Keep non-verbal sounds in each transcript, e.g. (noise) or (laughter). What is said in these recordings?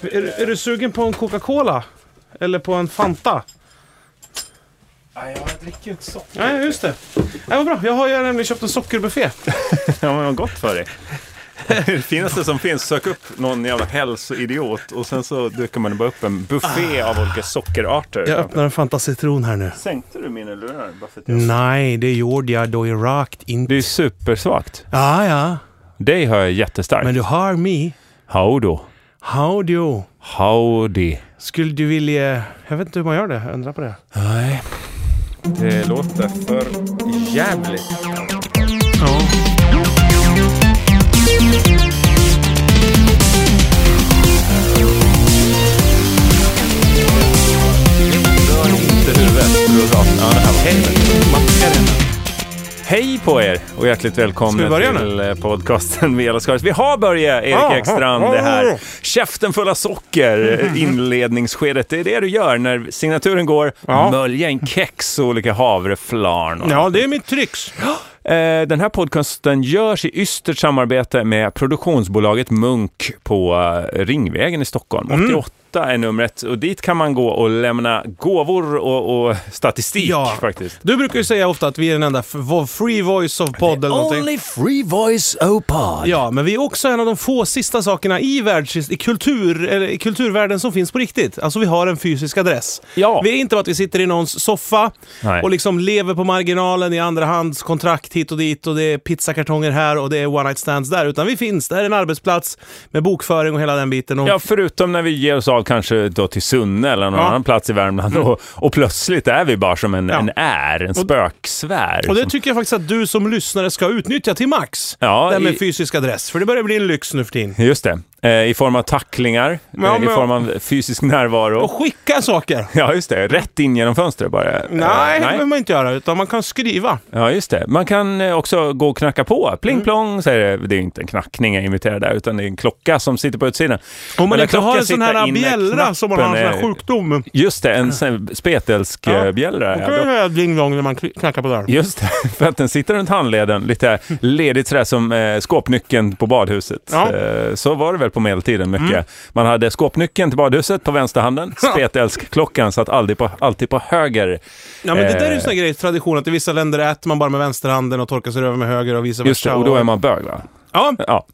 Är, är du sugen på en Coca-Cola? Eller på en Fanta? Nej, jag dricker ju inte socker. Nej, just det. Nej, vad bra. Jag har ju nämligen köpt en sockerbuffé. (laughs) Ja, men vad gott för dig. (laughs) Det finaste som finns, sök upp någon jävla hälsoidiot och sen så dyker man bara upp en buffé av olika sockerarter. Jag öppnar en Fanta citron här nu. Sänkte du mina lurar? Bara för att jag... Nej, det gjorde jag då jag rakt inte. Det är supersvagt. Ja, ja. Dig hör jag jättestarkt. Men Men... du hör mig. Howdo. Howdy. Howdy. Skulle du vilja... Jag vet inte hur man gör det. Ändra på det. Nej. Det låter för jävligt. Ja. Rör inte huvudet. Du är rak. Ja, det här var helvete. Hej på er och hjärtligt Ska vi välkomna börja till eh, podcasten Vela Skaris. Vi har börjat, Erik Ah, Ekstrand, ah, det här ah. käften fulla socker, (laughs) eh, inledningsskedet. Det är det du gör när signaturen går, Ja. mölja in kex och olika havreflarn. och- ja, det är mitt trix. Eh, Den här podcasten görs i ystert samarbete med produktionsbolaget Munk på eh, Ringvägen i Stockholm. Mm. 88 är numret och dit kan man gå och lämna gåvor och, och statistik Ja. faktiskt. Du brukar ju säga ofta att vi är den enda f- vo- free voice of podd eller någonting. free voice oh, opod. Ja, men vi är också en av de få sista sakerna i, världs, i, kultur, eller i kulturvärlden som finns på riktigt. Alltså vi har en fysisk adress. Ja. Vi är inte bara att vi sitter i någons soffa Nej. och liksom lever på marginalen i andrahandskontrakt hit och dit och det är pizzakartonger här och det är one night stands där. Utan vi finns, det här är en arbetsplats med bokföring och hela den biten. Och Ja, förutom när vi ger oss av kanske då till Sunne eller någon Ja. Mm. annan plats i Värmland och, och plötsligt är vi bara som en, Ja. en är, en spöksfär. Och det som- tycker jag faktiskt att du som lyssnare ska utnyttja till max. Ja, det här med i- fysisk adress, för det börjar bli en lyx nu för tiden. Just det, eh, i form av tacklingar, Ja, eh, i men- form av fysisk närvaro. Och skicka saker! (laughs) Ja, just det. Rätt in genom fönstret bara. Nej, Eh, det behöver man inte göra, utan man kan skriva. Ja, just det. Man kan eh, också gå och knacka på. Pling Mm. plong säger det. Det är ju inte en knackning jag imiterar där, utan det är en klocka som sitter på utsidan. Om man Men inte klockan har en sån sitter här inne, bjällra som man har en sån här knappen är- sjukdom. Just det, en sån här spetelsk Ah. Ja. Mm. eh, bjällra. Då ja. kan Då- man höra ding-dong när man kli- knackar på dörren. Just det, (laughs) för att den sitter runt handleden, lite ledigt sådär som eh, skåpnyckeln på badhuset. Ja. Mm. Eh, så var det väl på medeltiden mycket. Man hade skåpnyckeln till badhuset på vänsterhanden, spetälskklockan satt alltid på, alltid på höger. Ja, men det där är ju en Eh. sån här grej, tradition, att i vissa länder äter man bara med vänsterhanden och torkar sig över med höger och vice versa. Just det, och då är man bög va? Ja, Ja.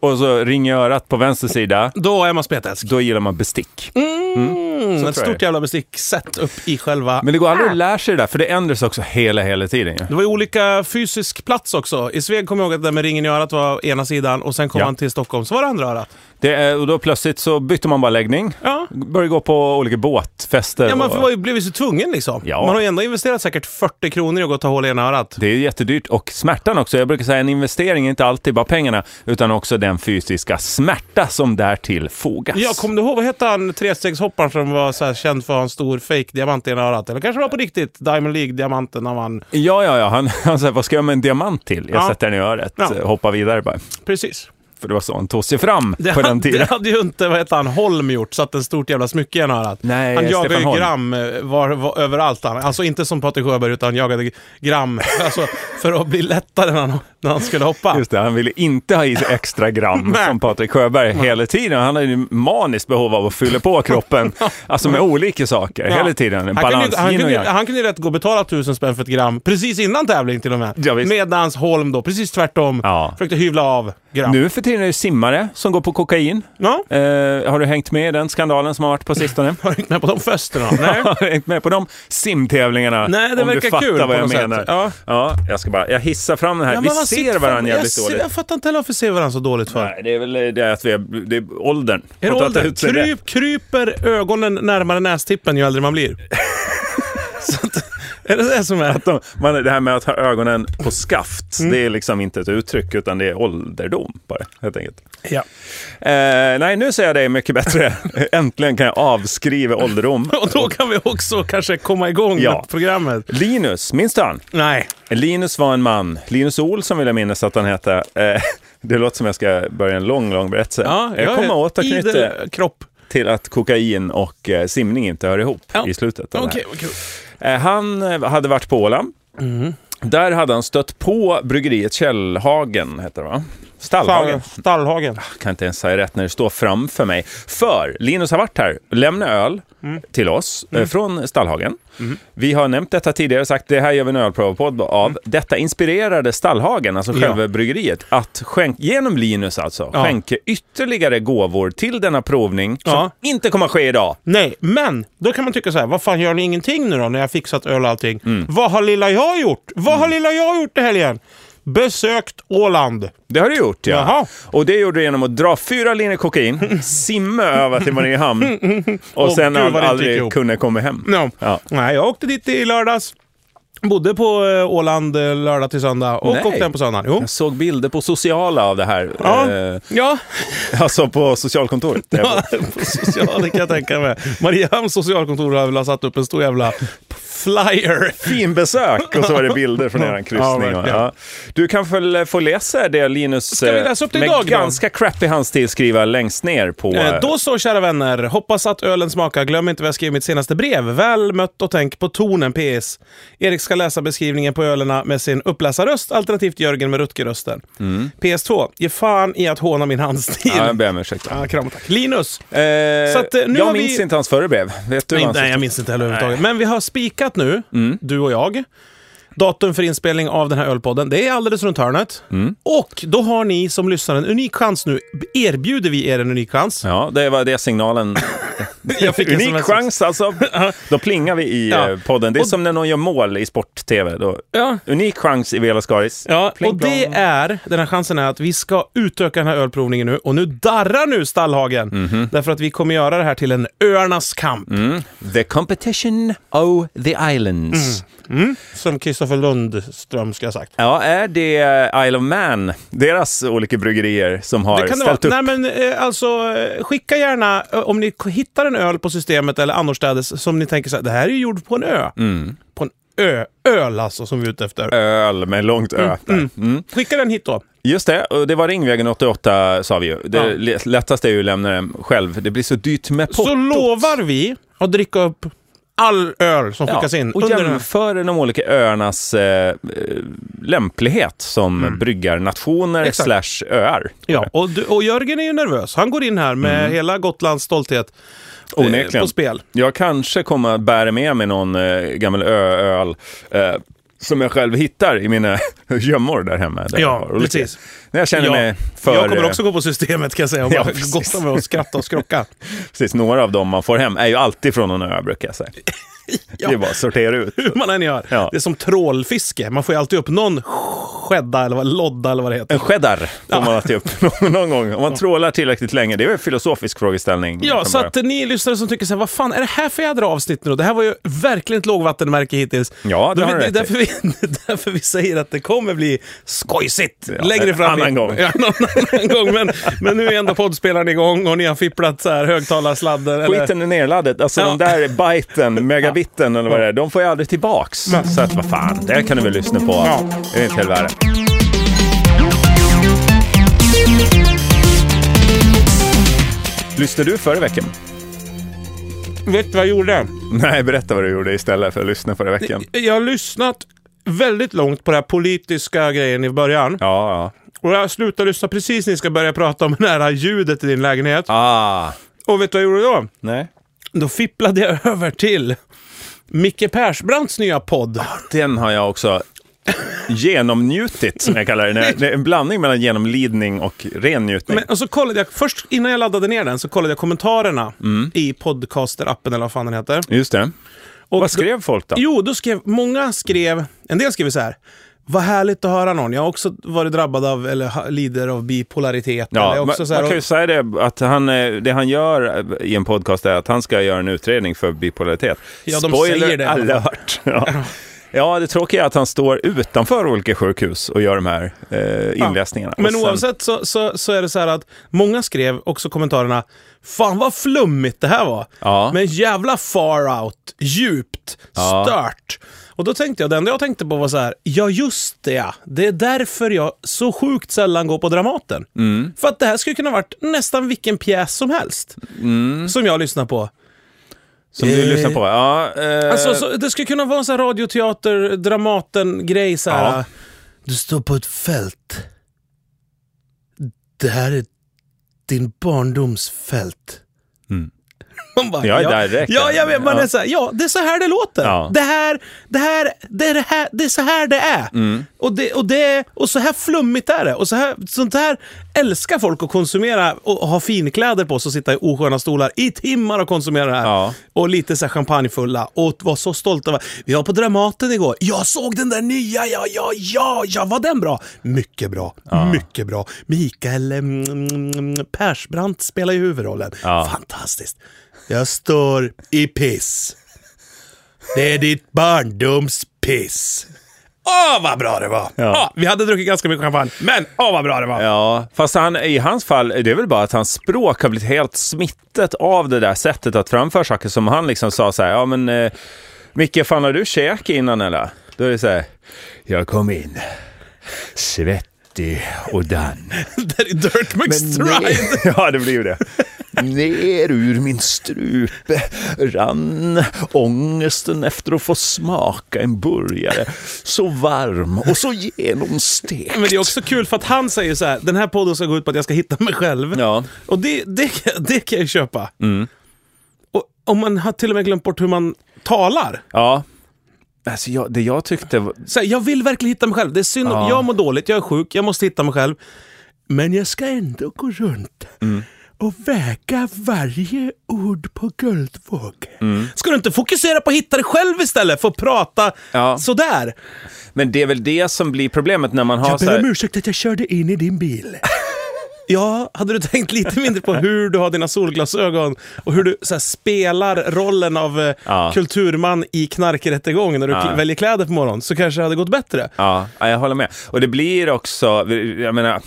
Och så ring i örat på vänster sida, då är man spetälsk. då gillar man bestick. Mm, så ett tror jag stort det. jävla bestick sätt upp i själva... Men det går aldrig att lära sig det där, för det ändras också hela, hela tiden ju. Det var ju olika fysisk plats också. I Sveg kommer jag ihåg att det där med ringen i örat var ena sidan och sen kom Ja. man till Stockholm så var det andra örat. Det är, och då plötsligt så bytte man bara läggning, Ja. började gå på olika båtfester. Ja, man och- var ju, blev ju så tvungen liksom. Ja. Man har ju ändå investerat säkert 40 kronor i att gå och ta hål i ena örat. Det är jättedyrt och smärtan också. Jag brukar säga en investering är inte alltid bara pengarna utan också den fysiska smärta som därtill fogas. Ja, kommer du ihåg, vad hette han trestegshopparen som var så här känd för att ha en stor fake diamant i ena örat? Eller kanske det var på riktigt Diamond League-diamanten han vann. ja, ja, ja. Han, (laughs) han säger, vad ska jag med en diamant till? Jag Ja. sätter den i örat, Ja. eh, hoppar vidare bara. Precis. För det var så han tog sig fram Det, på den hade, det tiden. hade ju inte, vad hette han, Holm gjort, satt en stort jävla smycke i ena örat. Nej, han Stefan jagade ju Holm. gram eh, var, var, överallt. Han. Alltså inte som Patrik Sjöberg, utan han jagade gram (laughs) alltså, för att bli lättare när han, när han skulle hoppa. Just det, han ville inte ha i sig extra gram (laughs) Nej. som Patrik Sjöberg hela tiden. Han hade ju maniskt behov av att fylla (laughs) på kroppen, alltså med olika saker Ja. hela tiden. En Han kunde, ju- balans, han, yin och kunde, ju- yang. han kunde ju rätt gå och betala tusen spänn för ett gram precis innan tävling till och med. Ja, visst. Medans Holm då, precis tvärtom, Ja. försökte hyvla av gram. Nu för tiden är det simmare som går på kokain. Ja, Eh, har du hängt med i den skandalen som har varit på sistone? har du hängt med på de (laughs) festerna? (laughs) Nej. Jag (laughs) har hängt med på de simtävlingarna. Nej, det om du verkar fattar kul på vad jag något sätt. menar. Ja. Ja, jag ska bara, jag hissar fram den här. Ja, vi men man sitter ser fan- varandra jävligt jag, ser- dåligt. Jag fattar inte heller varför ser varandra så dåligt för. Nej, det är väl det att vi är, det är åldern. Är det Har tagit åldern? ut sig rätt. Kryp, kryper ögonen närmare nästippen ju äldre man blir? (laughs) så att, är det det som är? De- Man, det här med att ha ögonen på skaft, Mm. det är liksom inte ett uttryck utan det är ålderdom bara, helt enkelt. Ja. Eh, nej, nu ser jag dig mycket bättre. Äntligen kan jag avskriva ålderdom. (laughs) Och då kan vi också kanske komma igång Ja. med programmet. Linus, minns du han? Nej. Linus var en man, Linus Olsson vill jag minnas att han hette. Eh, (laughs) det låter som jag ska börja en lång, lång berättelse. jag kommer är återknyta idel kropp. till att kokain och eh, simning inte hör ihop Ja. i slutet. Av det här. Okej, vad kul. Eh, Han eh, hade varit Mm. på Åland. Där hade han stött på bryggeriet Källhagen, heter det va? Stallhagen. Stallhagen. kan inte ens säga rätt när det står framför mig. För Linus har varit här och lämnat öl Mm. till oss eh, från Stallhagen. Vi har nämnt detta tidigare och sagt det här gör vi en ölprovpodd av. Mm. Detta inspirerade Stallhagen, alltså själva bryggeriet, att skänk, genom Linus alltså, Ja. skänka ytterligare gåvor till denna provning som Ja. inte kommer att ske idag. Nej, men då kan man tycka så här, vad fan gör ni ingenting nu då när jag har fixat öl och allting? Mm. Vad har lilla jag gjort? Vad har lilla jag gjort i helgen? Besökt Åland. Det har du gjort, ja. Jaha. Och det gjorde du genom att dra fyra (laughs) linjer kokain, simma över till Mariehamn och Åh, sen gud, vad det inte gick aldrig ihop. kunna komma hem. No. Ja. Nej, jag åkte dit i lördags. Bodde på eh, Åland eh, lördag till söndag och Nej. åkte hem på söndagen. Jo. Jag såg bilder på sociala av det här. Ja. Eh, ja, alltså på socialkontoret. där (laughs) jag bor. på social, det kan jag tänka mig. Mariehamns socialkontor har väl satt upp en stor jävla flyer. Fin besök och så var det bilder från er Ja, kryssning. verkligen. Ja. Du kan väl eh, få läsa det Linus, Ska vi läsa upp det eh, med idag då? ganska crappy handstil skriva längst ner på... Eh, Då så, kära vänner. Hoppas att ölen smakar. Glöm inte vad jag skrev i mitt senaste brev. Väl mött och tänk på tonen, PS. Erik ska läsa beskrivningen på ölerna med sin uppläsarröst, alternativt Jörgen med Rutgerrösten. Mm. PS2. Ge fan i att håna min handstil. Ja, jag ber om ursäkt. Ah, kram och tack. Linus. Eh, Så att, eh, nu har jag vi- minns inte hans förra brev. Vet du Nej, hans? nej, jag minns inte heller överhuvudtaget. Men vi har spikat nu, Mm. du och jag. Datum för inspelning av den här ölpodden, det är alldeles runt hörnet. Mm. Och då har ni som lyssnar en unik chans nu. Erbjuder vi er en unik chans. Ja, det var det signalen. Jag fick Unik SMS. chans alltså. Då plingar vi i Ja. eh, podden. Det är Och- som när någon gör mål i sport-tv. Då... Ja. Unik chans i Vela Skaris. Ja, Pling och det plong. är, den här chansen är att vi ska utöka den här ölprovningen nu. Och nu darrar nu stallhagen. Mhm. Därför att vi kommer göra det här till en öarnas kamp. Mm. The competition of the islands. Mm. Som Kristoffer Lundström ska ha sagt. Ja, är det eh, Isle of Man, deras olika bryggerier som har Det kan det vara. ställt upp? Nej, men eh, alltså, eh, skicka gärna, eh, om ni k- hittar en öl på systemet eller annorstädes som ni tänker så här, det här är ju gjord på en ö. Mm. På en ö. Öl alltså, som vi är ute efter. Öl med långt ö. där. Mm. Skicka den hit då. Just det, och det var Ringvägen 88 sa vi ju. Det lättaste är ju att lämna den själv. Det blir så dyrt med portot. Så lovar vi att dricka upp all öl som skickas in. och under den här- jämför de olika öarnas eh, eh, lämplighet som bryggarnationer Mm. Exakt. slash öar. Ja, och, du, och Jörgen är ju nervös. Han går in här med hela Gotlands stolthet eh, Mm. Onekligen. på spel. Jag kanske kommer att bära med mig någon eh, gammal ö-öl eh, som jag själv hittar i mina (laughs) gömmor där hemma. Ja, Där jag har olika- precis. När jag känner Ja. mig för... jag kommer eh, också gå på systemet kan jag säga och (laughs) Ja, bara precis. gotta mig och skratta och (laughs) skrocka. Precis, några av dem man får hem är ju alltid från någon ö, brukar jag säga. (laughs) Ja. Det är bara att sortera ut. Hur man än gör. Ja. Det är som trålfiske. Man får ju alltid upp någon skädda eller vad, lodda eller vad det heter. En cheddar får man alltid upp (laughs) någon, någon gång. Om man trålar tillräckligt länge. Det är väl en filosofisk frågeställning. liksom Ja, från så början. att ni lyssnare som tycker så här, vad fan är det här för jädra avsnitt nu då? Det här var ju verkligen ett lågvattenmärke hittills. Ja, det Då har vi- du det är rätt därför i. vi, (laughs) det är därför vi säger att det kommer bli skojsigt Ja, längre en fram. i- annan gång. (laughs) Ja, en annan gång. Men, men nu är ändå poddspelaren igång och ni har fipplat så här högtalarsladden. eller- Skiten är nedladdad. Alltså Ja. de där (laughs) byten, megabiten eller vad det är, de får jag aldrig tillbaks. Så att vad fan, det kan du väl lyssna på. Ja. Det är inte hela världen. Lyssnade du förra veckan? Vet du vad jag gjorde? Nej, berätta vad du gjorde istället för att lyssna förra veckan. Jag har lyssnat väldigt långt på den här politiska grejen i början. Ja, ja. Och jag slutade lyssna precis när ni ska börja prata om det här ljudet i din lägenhet. Ah, Och vet du vad jag gjorde då? nej. Då fipplade jag (laughs) över till Micke Persbrandts nya Ah, podd. Den har jag också genomnjutit, som jag kallar det. När- Det är en blandning mellan genomlidning och rennjutning. Men, och så kollade jag, först innan jag laddade ner den så kollade jag kommentarerna Mm. i podcaster-appen eller vad fan den heter. Just det. Och Vad skrev folk då? Jo, då skrev, många skrev, en del skrev så här. Vad härligt att höra någon. Jag har också varit drabbad av, eller ha- lider av bipolaritet. eller Ja, jag är man, också så här, man kan ju och, säga det att han, eh, det han gör eh, i en podcast är att han ska göra en utredning för bipolaritet. Ja, de Spoiler säger det i alla (laughs) alert! Ja. ja, det tråkiga är att han står utanför olika sjukhus och gör de här eh, inläsningarna. men Och sen- oavsett så, så, så är det så här att många skrev också kommentarerna. Fan vad flummigt det här var. Ja. Men jävla far out, djupt, Ja. stört. Och då tänkte jag, det enda jag tänkte på var så här, ja just det ja. Det är därför jag så sjukt sällan går på Dramaten. Mm. För att det här skulle kunna varit nästan vilken pjäs som helst. Mm. Som jag lyssnar på. Som du Eh, lyssnar på. Ja, eh, Alltså, så, det skulle kunna vara en sån här radioteater, Dramaten-grej så här. Ja. Du står på ett fält. det här är din barndomsfält. Mm. (laughs) Man bara, Jag är där direkt. Ja, jag vet. Man Ja. är så här, ja, det är så här det låter. Ja. Det, här, det, här, det, är det här, det är så här det är. Mm. Och, det, och, det, och så här flummigt är det. Och så här, sånt här älskar folk att konsumera och ha finkläder på sig och sitta i osköna stolar i timmar och konsumera det här. Ja. Och lite så här champagnefulla och var så stolta. över- Vi var på Dramaten igår. Jag såg den där nya, ja, ja, ja, ja, var den bra? Mycket bra, mycket bra. Mikael mm, mm, mm, Persbrandt spelar ju huvudrollen. Ja. Fantastiskt. Jag står i piss. Det är ditt barndomspiss. Åh, vad bra det var! Ja. vi hade druckit ganska mycket champagne, men åh, vad bra det (laughs) var! Ja, fast han, i hans fall, det är väl bara att hans språk har blivit helt smittet av det där sättet att framföra saker som han liksom sa så här, ja men eh, Micke, fan har du käk innan eller? Då är det så här, jag kom in, svettig och dann. Det är Dirk McStride. (laughs) ja, det blir ju det. Ner ur min strupe rann ångesten efter att få smaka en burgare. Så varm och så genomstekt. Men det är också kul för att han säger så här, den här podden ska gå ut på att jag ska hitta mig själv. Ja. Och det, det, kan- det kan jag ju köpa. Mm. Och om man har till och med glömt bort hur man talar. Ja. Alltså jag, det jag tyckte var- Så här, jag vill verkligen hitta mig själv. Det är synd om Ja. jag mår dåligt, jag är sjuk, jag måste hitta mig själv. Men jag ska ändå gå runt Mm. och väga varje ord på guldvåg. Mm. Ska du inte fokusera på att hitta dig själv istället för att prata Ja. sådär? Men det är väl det som blir problemet när man har Jag så ber om här, ursäkt att jag körde in i din bil. (laughs) Ja, hade du tänkt lite mindre på hur du har dina solglasögon och hur du så här, spelar rollen av eh, Ja. kulturman i knarkrättegång när du kl- väljer kläder på morgonen så kanske det hade gått bättre. Ja, ja, jag håller med. Och det blir också, jag menar,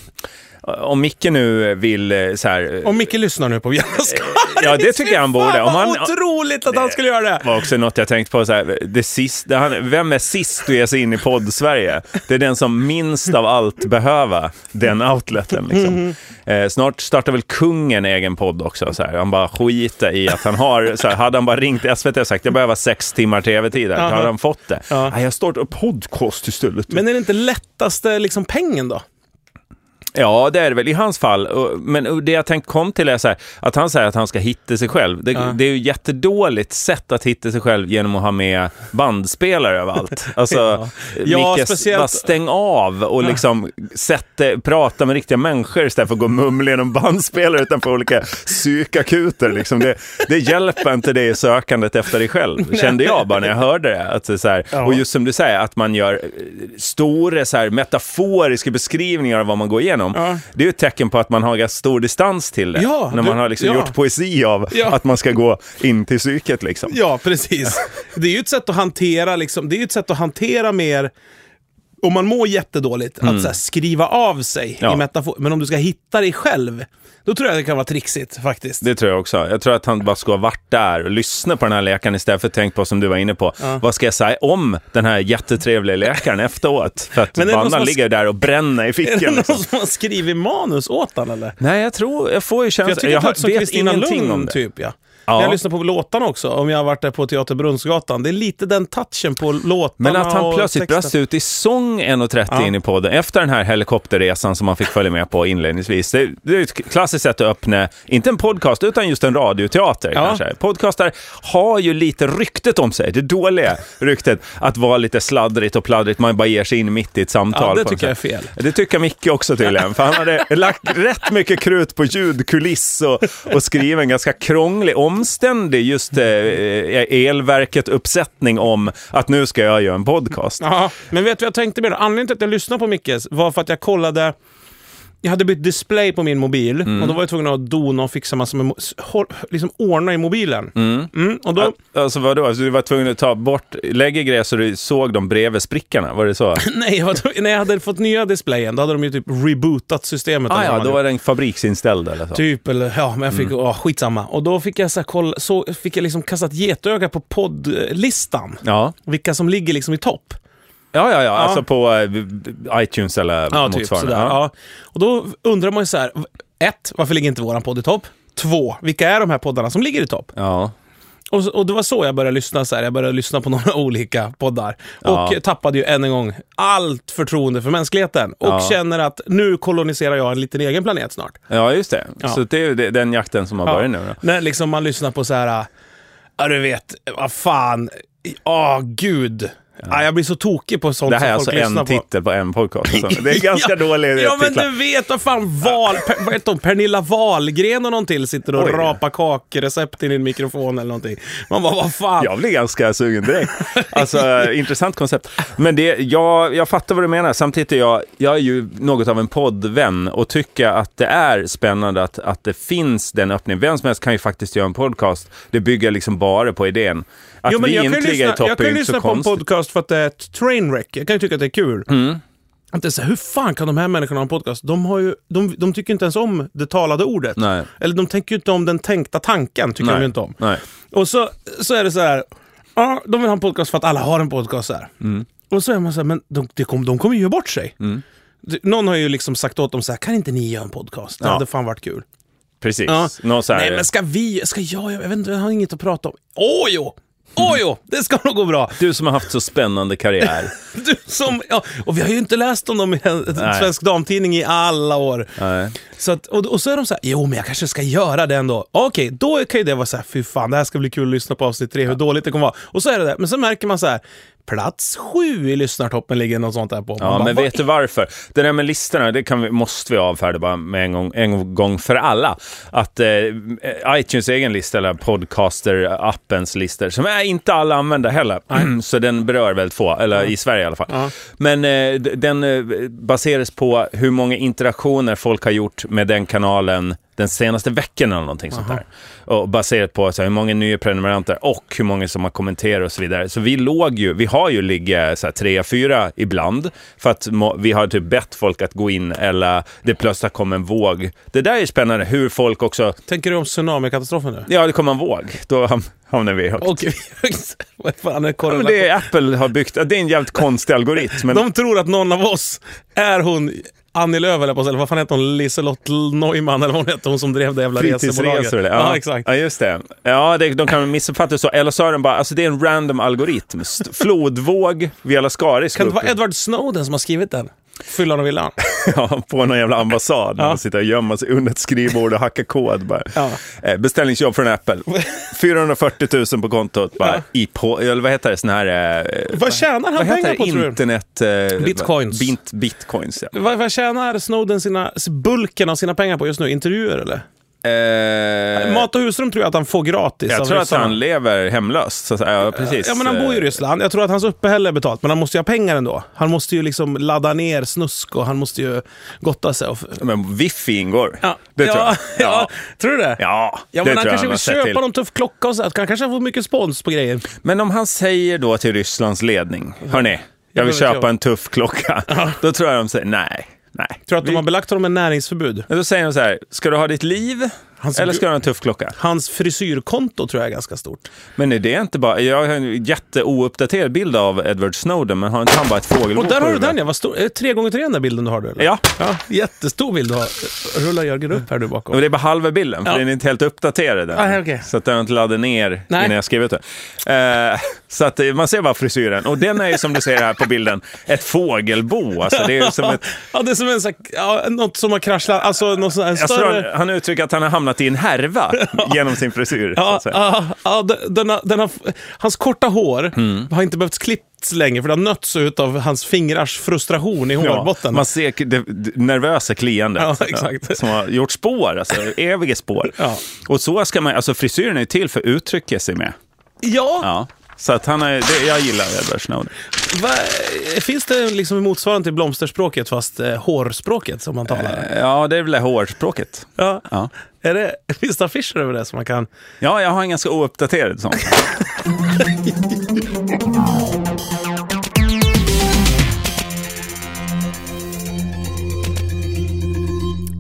om Micke nu vill eh, så här... Om Micke lyssnar nu på Viaskar. Ja, det tycker jag han borde. Om Om han- otroligt att han skulle göra det! var också något jag tänkt på, så här, det sist, det han, vem är sist att ge sig in i podd-Sverige? Det är den som minst av allt behöver den outleten. Liksom. Eh, snart startar väl kungen egen podd också. Så här. Han bara skiter i att han har, så här, hade han bara ringt SVT och sagt jag behöver sex timmar tv-tid, här", då hade han fått det. Ja. Nej, jag startar podcast istället. Men är det inte lättaste liksom, pengen då? Ja, det är det väl i hans fall. Och- Men det jag tänkte kom till är så här, att han säger att han ska hitta sig själv. Det, det är ju ett jättedåligt sätt att hitta sig själv genom att ha med (laughs) bandspelare överallt. Alltså, ja. Ja, Micke, speciellt- bara stäng av och liksom sätt, det- prata med riktiga människor istället för att gå och mumla genom bandspelare utanför olika psykakuter. Liksom. Det, det hjälper inte det i sökandet efter (laughs) dig själv, kände jag bara när jag hörde det. Att det är så här, Och just som du säger, att man gör eh, stora så här, metaforiska beskrivningar av vad man går igenom. Ja. Det är ju ett tecken på att man har ganska stor distans till det. Ja, när du- man har liksom ja. gjort poesi av Ja. att man ska gå in till psyket. Liksom. Ja, precis. Det är ju ett sätt att hantera, liksom, det är ju ett sätt att hantera mer om man mår jättedåligt, att så här, skriva av sig Mm. Ja. i metafor. Men om du ska hitta dig själv, då tror jag det kan vara trixigt faktiskt. Det tror jag också. Jag tror att han bara ska ha varit där och lyssna på den här läkaren istället för att tänka på, som du var inne på, vad ska jag säga om den här jättetrevliga läkaren efteråt? För (laughs) att Men är det någon som bandan har- ligger där och bränner (laughs) i är det fickan. någon Liksom. som har skrivit manus åt han eller? Nej, jag tror, jag får ju För jag känslan, tycker jag, att också vet Kristina ingenting Lund, om det. typ ja. Ja. När jag lyssnar på låtarna också, om jag har varit där på Teater Brunnsgatan. Det är lite den touchen på låtarna Men att han och plötsligt texten. brast ut i sång 1.30 Ja. in i podden, efter den här helikopterresan som han fick följa med på inledningsvis. Det, det är ju ett klassiskt sätt att öppna, inte en podcast, utan just en radioteater Ja. kanske. Podcastar har ju lite ryktet om sig, det dåliga ryktet, att vara lite sladdrigt och pladdrigt. Man bara ger sig in mitt i ett samtal. Ja, det på något tycker jag är sätt. fel. Det tycker Micke också tydligen, för han hade lagt rätt mycket krut på ljudkuliss och, och skrivit en ganska krånglig, omständig just eh, elverket-uppsättning om att nu ska jag göra en podcast. Ja, men vet du vad jag tänkte med det? Anledningen till att jag lyssnade på Mickes var för att jag kollade jag hade bytt display på min mobil Mm. och då var jag tvungen att dona och fixa massor med mo- s- hå- liksom ordna i mobilen. Mm, och då, (laughs) Alltså vadå, alltså, du var tvungen att ta bort, lägga grejer så du såg dem bredvid sprickarna, var (laughs) det så? nej, jag var, när jag hade fått nya displayen, då hade de ju typ rebootat systemet. ah, eller vad ja, man då var Mm. den fabriksinställd eller så. Typ, eller ja, men jag fick, åh, skitsamma. Och då fick jag så här koll, så fick jag liksom kastat getöga på poddlistan. Ja, Vilka som ligger liksom i topp. ja, ja, ja. alltså på eh, iTunes eller Ja, typ motsvarande. sådär. Ja. Och då undrar man ju så här, ett, varför ligger inte våran podd i topp? Två, vilka är de här poddarna som ligger i topp? ja. Och, så- och det var så jag började lyssna. Så här. Jag började lyssna på (laughs) några olika poddar. Och tappade ju än en gång allt förtroende för mänskligheten. Och Ja. känner att nu koloniserar jag en liten egen planet snart. Ja, just det. Så det är ju det- den jakten som har börjat nu. Då. När liksom man lyssnar på så här, ja du vet, vad fan, ja gud. Ja, jag blir så tokig på sånt Det här är som alltså folk en lyssnar på. titel på (laughs) en podcast. Så Det är ganska Ja, dålig Ja, men titlar. du vet, vad fan, Val, Per- vad heter hon, Pernilla Wahlgren och någon till sitter och Oj. rapar kakrecept in i en mikrofon eller någonting. Man bara, vad fan. Jag blir ganska sugen (laughs) direkt. Alltså, eh, intressant koncept. Men det, jag, jag fattar vad du menar. Samtidigt är jag, jag är ju något av en poddvän och tycker att det är spännande att, att det finns den öppningen. Vem som helst kan ju faktiskt göra en podcast. Det bygger liksom bara på idén. Att Jo, men vi jag kan inte ju ligger i lyssna, topp jag är kan ju ju inte så lyssna på en konstigt. Mm. podcast för att det är ett trainwreck. Jag kan ju tycka att det är kul. Att det är så här, hur fan kan de här människorna ha en podcast? De, har ju, de, de tycker inte ens om det talade ordet. Nej. Eller de tänker ju inte om den tänkta tanken, tycker de ju inte om. Nej. Och så, så är det så här. Ja, de vill ha en podcast för att alla har en podcast. Så här. Mm. Och så är man så här, men de, de, kom, de kommer ju göra bort sig. Det- Någon har ju liksom sagt åt dem så här, kan inte ni göra en podcast? Det Ja. hade fan varit kul. Precis. Ja. Någon så här, Nej, men ska vi, ska jag, jag vet inte, jag har inget att prata om. Åh jo! Åh jo! Det ska nog gå bra. Du som har haft så spännande karriär. (laughs) Du som, ja, och vi har ju inte läst om dem i en Nej. svensk damtidning i alla år. Nej. Så att, och, och så är de så här, jo men jag kanske ska göra det ändå. Okej, då kan ju det vara så här, fy fan det här ska bli kul att lyssna på avsnitt tre, hur dåligt det kommer vara. Och så är det där, men så märker man så här, plats sju i lyssnartoppen ligger något sånt där på. Man Ja, bara, men "Vad vet du varför? Det där med listorna, det kan vi, måste vi avfärda bara med en gång, en gång för alla. Att eh, iTunes egen lista, eller Podcaster-appens listor, som är inte alla använder heller, (clears throat) så den berör väldigt få, eller i Sverige i alla fall. Men eh, d- den eh, baseras på hur många interaktioner folk har gjort med den kanalen den senaste veckan eller någonting sånt där. Och baserat på så här, hur många nya prenumeranter och hur många som har kommenterat och så vidare. Så vi låg ju, vi har ju ligga så här, trea, fyra ibland för att må, vi har typ bett folk att gå in eller det plötsligt kom en våg. Det där är spännande hur folk också, Tänker du om tsunamikatastrofen nu? ja det kom en våg, då ham- hamnar vi (laughs) högt. Och vad fan är Ja, corona? men det är Apple har byggt, det är en jävligt konstig algoritm. Men De tror att någon av oss är hon Annie Lööf eller på eller vad fan heter hon? Liselott Neumann eller vad hon hette, hon som drev det jävla resebolaget. Fritidsresor eller? Ja, exakt. Ja, just det. Ja, det, de kan missuppfatta det så. Eller så är de bara, alltså det är en random algoritm. St- Flodvåg via Lascaris. Kan det vara Edward Snowden som har skrivit den? Fyllan och villan. Ja, på någon jävla ambassad. Ja. Man sitter och gömmer sig under ett skrivbord och hackar kod. Bara. Ja. Eh, Beställningsjobb från Apple. 440 000 på kontot. Bara, Ja. i på, eller vad heter det? Sån här... Eh, Vad tjänar han vad heter pengar det? på tror du? Internet... Eh, Bitcoins. Bint, bitcoins, ja. Vad, vad tjänar Snowden sina, bulken av sina pengar på just nu? Intervjuer eller? Eh, Mat och husrum tror jag att han får gratis av jag tror att ryssarna. han lever hemlöst. Så, att säga. ja, precis. Ja, men han bor ju i Ryssland. Jag tror att hans uppehälle är betalt, men han måste ju ha pengar ändå. Han måste ju liksom ladda ner snusk och han måste ju gotta sig. Och... Eh, Men wifi ingår. Ja. Det tror (laughs) ja, jag. Ja. Tror du det? Ja, Ja, det men han tror jag kanske har vill sett köpa till. någon tuff klocka och så. Att han kanske får mycket spons på grejer. Men om han säger då till Rysslands ledning, hörni, jag vill vet jag. köpa en tuff klocka. Då tror jag de säger nej. Nej. Tror att de har belagt honom med näringsförbud. Men Då säger de så här, ska du ha ditt liv Hans- eller ska du ha en tuff klocka? Hans frisyrkonto tror jag är ganska stort. Men är det är inte bara, jag har en jätteouppdaterad bild av Edward Snowden, men har inte han bara ett fågelbo Och där på har du huvudet? den ja. Vad stor... Är det Tre gånger tre den där bilden du har du? Eller? Ja. ja. Jättestor bild du har. Rullar Jörgen upp här du bakom. Och det är bara halva bilden, för Ja. den är inte helt uppdaterad än. Ah, okej. Så att den inte laddade ner Nej. innan jag skrev ut den. Eh, så att eh, man ser bara frisyren. Och den är ju som du ser här på bilden, ett fågelbo. Alltså, det är ju som ett (laughs) Ja, det är som en sån, ja, något som har kraschlat. Alltså något sån här Jag tror han, större... han uttrycker att han har hamnat i (laughs) en härva genom sin frisyr. så Ja, att säga. ja, ja, d- den har, den har, hans korta hår Mm. har inte behövt klippts längre för det har nötts ut av hans fingrars frustration i hårbotten. man ser k- det det nervösa kliandet Ja, exakt. eh, som har gjort spår, alltså eviga spår. Ja. Och så ska man, alltså frisyren är ju till för att uttrycka sig med. ja, Ja. Så att han är, det, jag gillar Edward Snowden. Va, finns det liksom motsvarande till blomsterspråket fast eh, hårspråket som man talar? Ja, det är väl det hårspråket. ja. Eh, Ja. Är det, finns det affischer över det som man kan... ja, jag har en ganska ouppdaterad sån.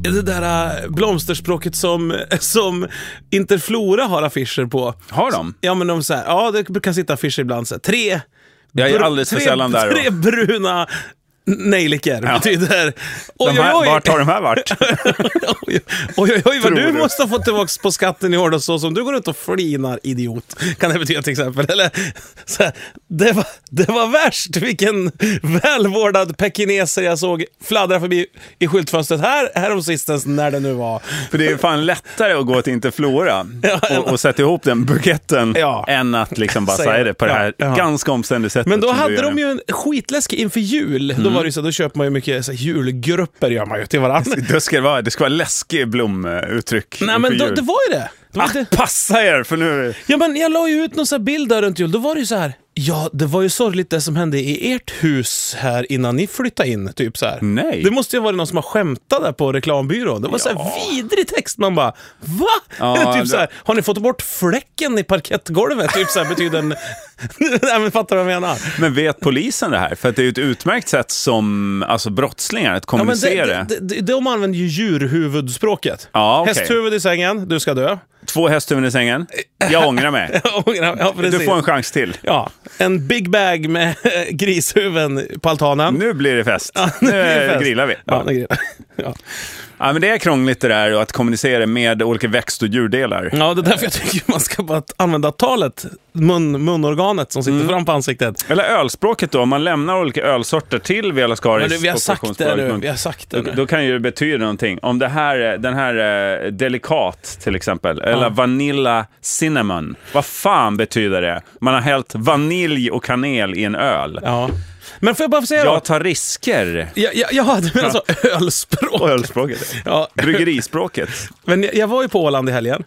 Är det där eh, blomsterspråket som, som Interflora har affischer på? Har de? Ja, men de så här, ja, det kan sitta affischer ibland. Så här, tre, Jag är br- alldeles för tre, sällan där. tre bruna nejlikor betyder... Oj, De här, oj, oj. Vart har de här varit? (laughs) Oj, oj, oj, oj vad Tror du du? måste ha fått tillbaka på skatten i år då, så som du går ut och flinar, idiot. Kan det betyda till exempel. Eller, så här, det, var, det var värst, vilken välvårdad pekineser jag såg fladdra förbi i skyltfönstret här häromsistens, när det nu var. För det är fan lättare att gå (laughs) till Interflora och, och sätta ihop den buketten Ja. än att liksom bara Säga säga det på det ja, här ja. ganska omständiga sättet. Men då som du hade gör de det. Mm. ju en skitläskig inför jul. Då var det ju så, då köper man ju mycket så här, julgrupper gör man ju till varandra. Då ska det vara, det ska vara läskig blomuttryck Nej men inför då, jul. det var ju det. det, var inte- Ah, passa er för nu... Ja, men jag la ju ut någon sån här bild där runt jul. Då var det ju så här. Ja, det var ju sorgligt det som hände i ert hus här innan ni flyttade in. Typ så här. Nej. Det måste ju vara någon som har skämtat där på reklambyrån. Det var så här vidrig text. Man bara, va? (laughs) Ja, typ det- så här, har ni fått bort fläcken i parkettgolvet? Typ så här betyder en... (laughs) Nej, men fattar du vad jag menar? Men vet polisen det här? För att det är ju ett utmärkt sätt som alltså, brottslingar att Ja, men kommunicera. det, det, det, de använder ju djurhuvudspråket. Ja, okej. Hästhuvud i sängen, du ska dö. (laughs) Två hästhuvuden i sängen. Jag ångrar mig. ja, (laughs) Du precis. får en chans till. Ja, en big bag med (laughs) grishuvuden på altanen. Nu blir det fest. nu nu blir det fest. grillar vi. Ja, det grillar. (laughs) Ja. Ja, men det är krångligt det där och att kommunicera med olika växt och djurdelar. ja, det är därför jag tycker man ska bara använda talet, mun, munorganet som Mm. sitter fram på ansiktet. Eller ölspråket då, om man lämnar olika ölsorter till Vela Skaris Men nu, vi har sagt det nu. Vi har sagt det Då, nu. då kan ju det betyda någonting. Om det här, eh, den här eh, Delikat till exempel, eller Vanilla Cinnamon. Vad fan betyder det? Man har hällt vanilj och kanel i en öl. Ja. Men får jag bara få säga då? Jag tar risker. Ja, ja, ja, du menar så, alltså, ölspråk. Ölspråket. Ja, Bryggerispråket. men jag, jag var ju på Åland i helgen.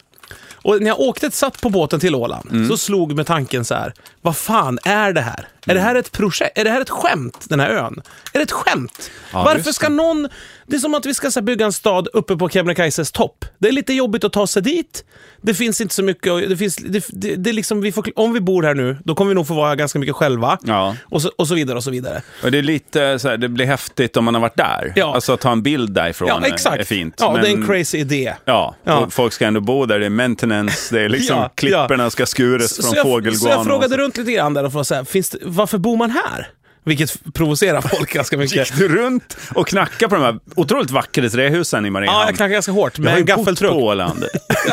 Och när jag åkte, satt på båten till Åland, Mm. så slog mig tanken så här, vad fan är det här? Är Mm. det här ett projekt? Är det här ett skämt, den här ön? Är det ett skämt? Varför just ska någon... Det är som att vi ska så här, bygga en stad uppe på Kebnekaises topp. Det är lite jobbigt att ta sig dit. Det finns inte så mycket... och Det finns, det, det, det är liksom, vi får, om vi bor här nu, då kommer vi nog få vara ganska mycket själva. Ja. Och, så, och så vidare och så vidare. Och det är lite så här, det blir häftigt om man har varit där. Ja. Alltså att ta en bild därifrån Ja, eh, exakt. är fint. Ja, det är en Men- crazy idé. Ja, Ja. Och folk ska ändå bo där. Det är maintenance, det är (laughs) liksom Ja, klipporna ska skuras Så- från så jag, fågelguan. Så jag och frågade runt lite grann där och frågade så här, finns det, varför bor man här? Vilket provocerar (laughs) folk ganska mycket. Gick du runt och knackade på de här otroligt vackra trähusen i Ja, Mariehamn? jag knackade ganska hårt Jag med har ju en bott gaffeltruck. (laughs) på Åland.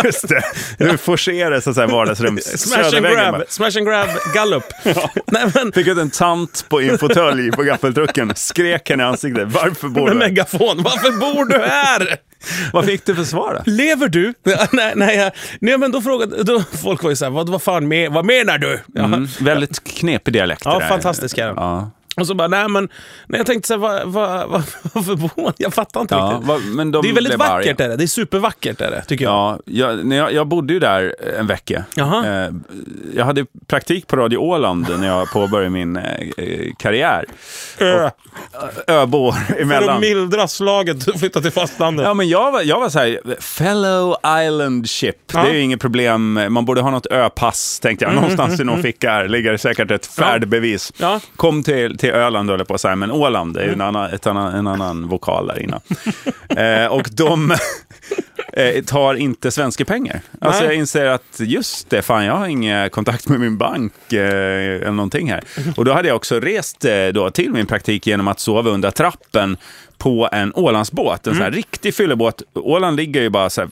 Just det. Du forcerar så att säga vardagsrums... Smash and, södervägen grab, bara. smash and grab gallup. (laughs) Nej, men, Fick ut en tant på en fåtölj på gaffeltrucken. Skrek henne i ansiktet. Varför bor med du här? megafon. Varför bor du här? Vad fick du för svar då? Lever du? (laughs) nej, nej, jag- nej, men då frågade... Då, folk var ju så här, vad, vad fan me, vad menar du? Ja. Mm, väldigt knepig dialekt. det Ja, där. fantastisk är den. Ja. Och så bara, nej men... Nej, jag tänkte så här, vad, vad, vad, (laughs) varför bor man? Jag fattar inte Ja, riktigt. vad- men de Det är väldigt blev arga. vackert är det. Det är supervackert är det, tycker jag. Ja, jag, när jag, jag bodde ju där eh, en vecka. Jaha. Eh, Jag hade praktik på Radio Åland när jag påbörjade min eh, eh, karriär. Ö. Öbor (laughs) För att emellan. mildra slaget (laughs) och flytta till fastlandet. Ja, men jag var, jag var så här, fellow island ship. Det är ju inget problem. Man borde ha något öpass, tänkte jag. Någonstans i någon ficka här ligger det säkert ett färdbevis. Mm. Ja. Kom till, till Öland, höll jag på att säga, men Åland är ju en annan, ett annan, en annan vokal där innan. eh, och de (laughs) eh, tar inte svenska pengar. Alltså Nej. jag inser att just det, fan jag har ingen kontakt med min bank eh, eller någonting här. Och då hade jag också rest eh, då till min praktik genom att sova under trappen på en Ålandsbåt, en sån här riktig fyllebåt. Åland ligger ju bara så här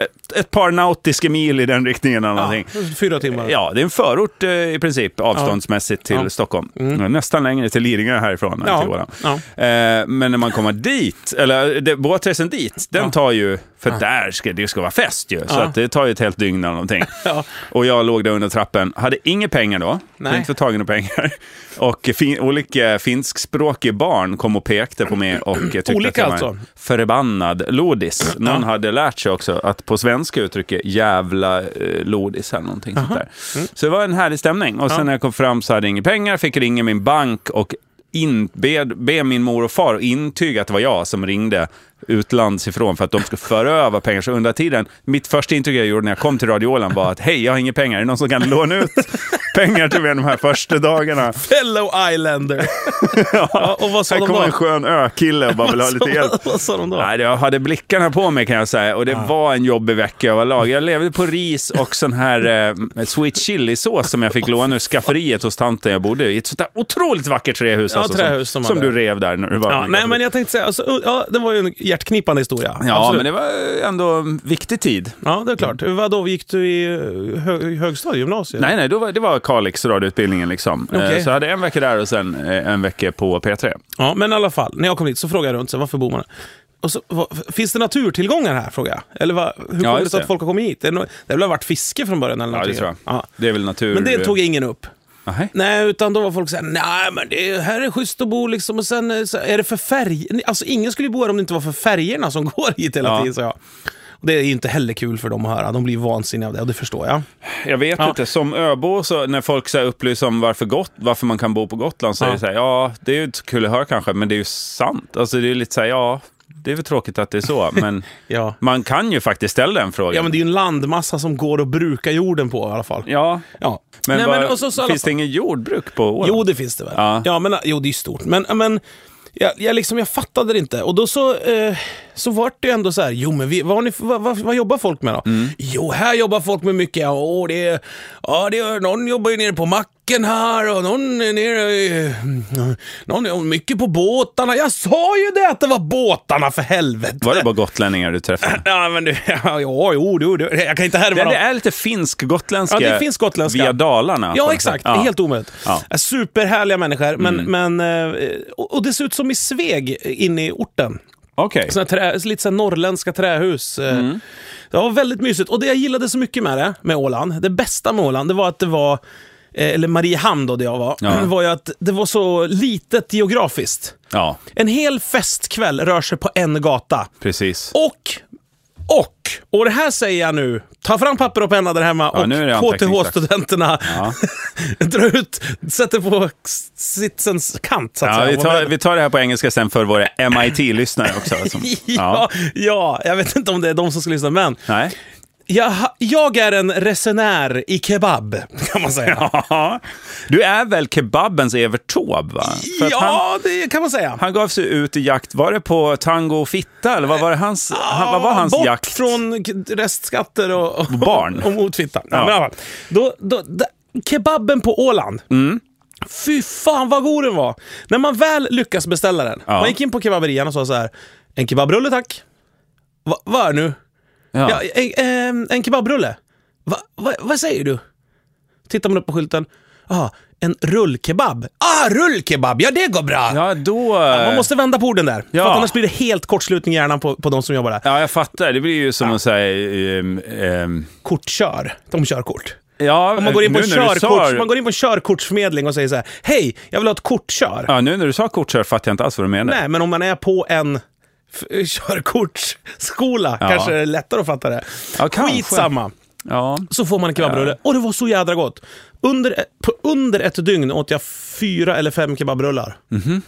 ett, ett par nautiska mil i den riktningen eller någonting. Fyra timmar. Ja, det är en förort eh, i princip avståndsmässigt till Ja. Mm. Stockholm. Nästan längre till Lidingö härifrån än Ja. till Åland. Ja. Eh, men när man kommer dit, eller det- båtresan dit, den tar ju, för där ska det ska vara fest ju, så Ja. att det tar ju ett helt dygn (laughs) eller någonting. Ja. Och jag låg där under trappen, hade inga pengar då, Nej. inte fått tag i några pengar. (laughs) Och fin, olika finskspråkiga barn kom och pekade på mig och jag tyckte Olika att jag var en alltså? förbannad lodis. Någon hade lärt sig också att på svenska uttrycket jävla eh, lodis eller någonting sånt där. Mm. Så det var en härlig stämning. Och sen när jag kom fram så hade jag inga pengar, fick ringa min bank och in, be, be min mor och far att intyga att det var jag som ringde utlands ifrån för att de ska föra över pengar. Så under tiden, mitt första intryck jag gjorde när jag kom till Radio Åland var att hej, jag har inga pengar. Är det någon som kan låna ut (laughs) pengar till mig de här första dagarna? Fellow Islander. (laughs) ja, och vad sa Här de kommer då? en skön ökille och bara vill ha lite hjälp. vad sa de då? Nej, jag hade blickarna på mig kan jag säga och det var en jobbig vecka överlag. Jag levde på ris och sån här eh, sweet chili-sås som jag fick låna ur skafferiet hos tanten jag bodde i. Ett sånt där otroligt vackert trähus, alltså, Ja, trähus som, som som, hade- du rev där när du var Ja, nej, men jag tänkte säga, alltså, ja, det var ju en hjärtknipande historia. Ja, Absolut. men det var ändå en viktig tid. ja, det är klart. Vadå, gick du i eh, hö högstadiet, gymnasiet? Nej, nej, då var, det var Kalix radioutbildningen liksom. Eh, Okej. Så jag hade en vecka där och sen eh, en vecka på P3. Ja, men i alla fall, när jag kom dit så frågade jag runt, så, här, varför bor man här? Och så, vad, finns det naturtillgångar här, frågade jag. Eller vad, hur kommer det just sig det. att folk har kommit hit? Det, är nog- det har väl varit fiske från början eller Ja, det någonting? tror jag. Ja. Det är väl natur... Men det tog ingen upp. Nej. Nej, utan då var folk såhär, nej men det, här är schysst att bo liksom och sen eh, så, är det för färg... Alltså ingen skulle ju bo här om det inte var för färgerna som (laughs) går hit hela Ja. tiden, sa jag. Och det är ju inte heller kul för dem att höra. De blir ju vansinniga av det och det förstår jag. Jag vet inte. Som öbo, så när folk så här upplyser om varför, gott, varför man kan bo på Gotland, så Ja. är det så här, ja, det är ju inte så kul att höra kanske, men det är ju sant. Alltså det är lite så här, ja, det är väl tråkigt att det (laughs) är så, men Ja. man kan ju faktiskt ställa den frågan. Ja, men det är ju en landmassa som går att bruka jorden på i alla fall. Ja, Ja. men, Nej, vad- men och så, så, i alla finns det ingen jordbruk på Åland? Jo, det finns det väl. Ja. Ja, men, jo, det är ju stort. Men, men jag, jag, liksom, jag fattade det inte. Och då så, eh, så var det ju ändå så här, jo men vi, vad, har ni, för- vad, vad, vad jobbar folk med då? Mm. Jo, här jobbar folk med mycket. Ja, åh, det, är- ja, det, är- någon jobbar ju nere på macken här och någon är nere i- någon är mycket på båtarna. Jag sa ju det att det var båtarna för helvete! Var det bara gotlänningar du träffade? (clears throat) Ja, men du, (laughs) ja, jo, jo, du, du, jag kan inte härma Det, dem. det är lite finsk-gotländska Ja, det finns gotländska. via Dalarna. på Ja, något exakt. sätt. Det är helt omöjligt. Äh, Ja. Mm. Superhärliga människor, men, men, eh, och, och det ser ut som i Sveg inne i orten. Okej. Såna trä, lite så här norrländska trähus. eh. Mm. Det var väldigt mysigt. Och det jag gillade så mycket med det, med Åland, det bästa med Åland, det var att det var, eh, eller Mariehamn då, där jag var, Ja. (clears throat) var ju att det var så litet geografiskt. Ja, En hel festkväll rör sig på en gata. precis. Och, och, och det här säger jag nu. Ta fram papper och penna där hemma Ja, nu är det och KTH-studenterna Ja. (laughs) dra ut, sätter på sitsens kant så att Ja, säga. vi, tar, (laughs) vi tar det här på engelska sen för våra MIT-lyssnare också. Som, Ja, ja, jag vet inte om det är de som ska lyssna, men Nej. jag, ha- jag är en resenär i kebab, kan man säga. Ja. Du är väl kebabens Evert Taube, va? För att Ja, han, det kan man säga. han gav sig ut i jakt, var det på tango och fitta? Eller vad var, det hans, han, vad var hans Bort jakt? från k- restskatter och, och barn. Och motfitta. Ja. Ja. men i alla fall. då, då, d- kebaben på Åland. Mm. Fy fan vad god den var! När man väl lyckas beställa den. Ja. Man gick in på kebaberian och sa så här. En kebabrulle tack. Va, vad är det nu? Ja. Ja, en, ehm, en kebabrulle. Va, va, vad säger du? Tittar man upp på skylten. Aha, en rullkebab. Ah, rullkebab! Ja, det går bra! Ja, då... Man måste vända på orden där. Ja. För att annars blir det helt kortslutning i hjärnan på, på de som jobbar där. Ja, jag fattar. Det blir ju som att säga... ehm, ehm, kortkör. De kör kort. ja, Man går, in på nu en när du sa- körkorts, man går in på en körkortsförmedling och säger så här, hej, jag vill ha ett kortkör. Ja, nu när du sa kortkör fattar jag inte alls vad du menar. Nej, men om man är på en f- körkortsskola Ja. kanske det är lättare att fatta det. Ja, kanske. Skitsamma. Ja. Så får man en kebabrulle. Och det var så jädra gott. Under, på under ett dygn åt jag fyra eller fem kebabrullar. Mm.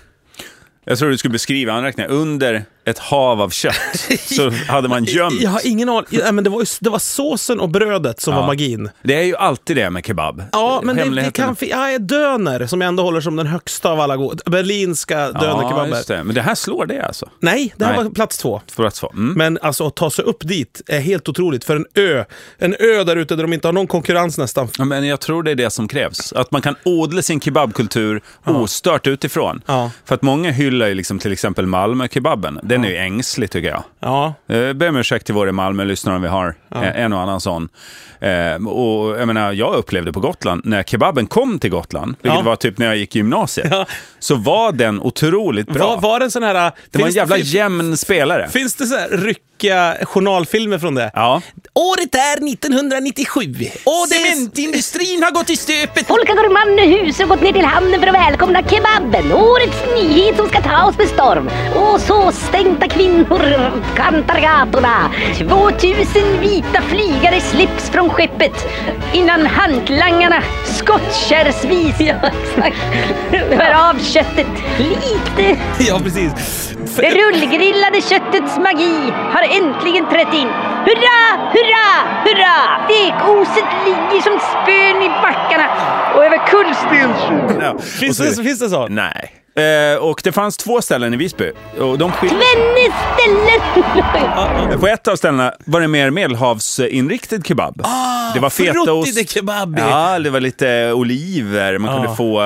Jag tror du skulle beskriva anräkningen. Under ett hav av kött (laughs) så hade man gömt. Jag har ingen aning. Ja, men det, var, ju- det var såsen och brödet som var magin. Det är ju alltid det med kebab. Ja, men det, det Hemligheten- kan... fi- Ja, döner, som jag ändå håller som den högsta av alla goda. Berlinska Ja, dönerkebaber. just det. Men det här slår det alltså? Nej, det här Nej. var plats två. För att svara. Mm. Men alltså att ta sig upp dit är helt otroligt för en ö. En ö där ute där de inte har någon konkurrens nästan. Ja, men jag tror det är det som krävs. Att man kan odla sin kebabkultur ostört utifrån. Ja. För att många hyllar ju liksom till exempel Malmö-kebaben. Den är ju ängslig tycker jag. Ja, Jag ber om ursäkt till våra Malmö-lyssnare om vi har eh, en och annan sån. Eh, och jag, menar, jag upplevde på Gotland, när kebaben kom till Gotland, vilket Ja. var typ när jag gick i gymnasiet, så var den otroligt bra. var, var det en sån här... äh, det var en jävla finns, jämn spelare. finns det så här ryckiga journalfilmer från det? Ja. Året är 1997. Och det är... Cementindustrin har gått i stöpet! Folk har gått man i hus och gått ner till hamnen för att välkomna kebaben. Årets nyhet som ska ta oss med storm. Och sås, det misstänkta kvinnor kantar gatorna. 2000 vita flygare slips från skeppet innan hantlangarna skottkärsvis ja, exakt. skär av köttet lite. (laughs) Ja, precis. Det rullgrillade köttets magi har äntligen trätt in. Hurra, hurra, hurra! Stekoset ligger som spön i backarna och över kullsten. Finns det, finns det så? Nej. Eh, och det fanns två ställen i Visby. Och de skil- Tvenne (laughs) ställen! på ett av ställena var det mer medelhavsinriktad kebab. Ah, det var fetaost. frutti di kebabi. Ja, det var lite oliver. Man kunde få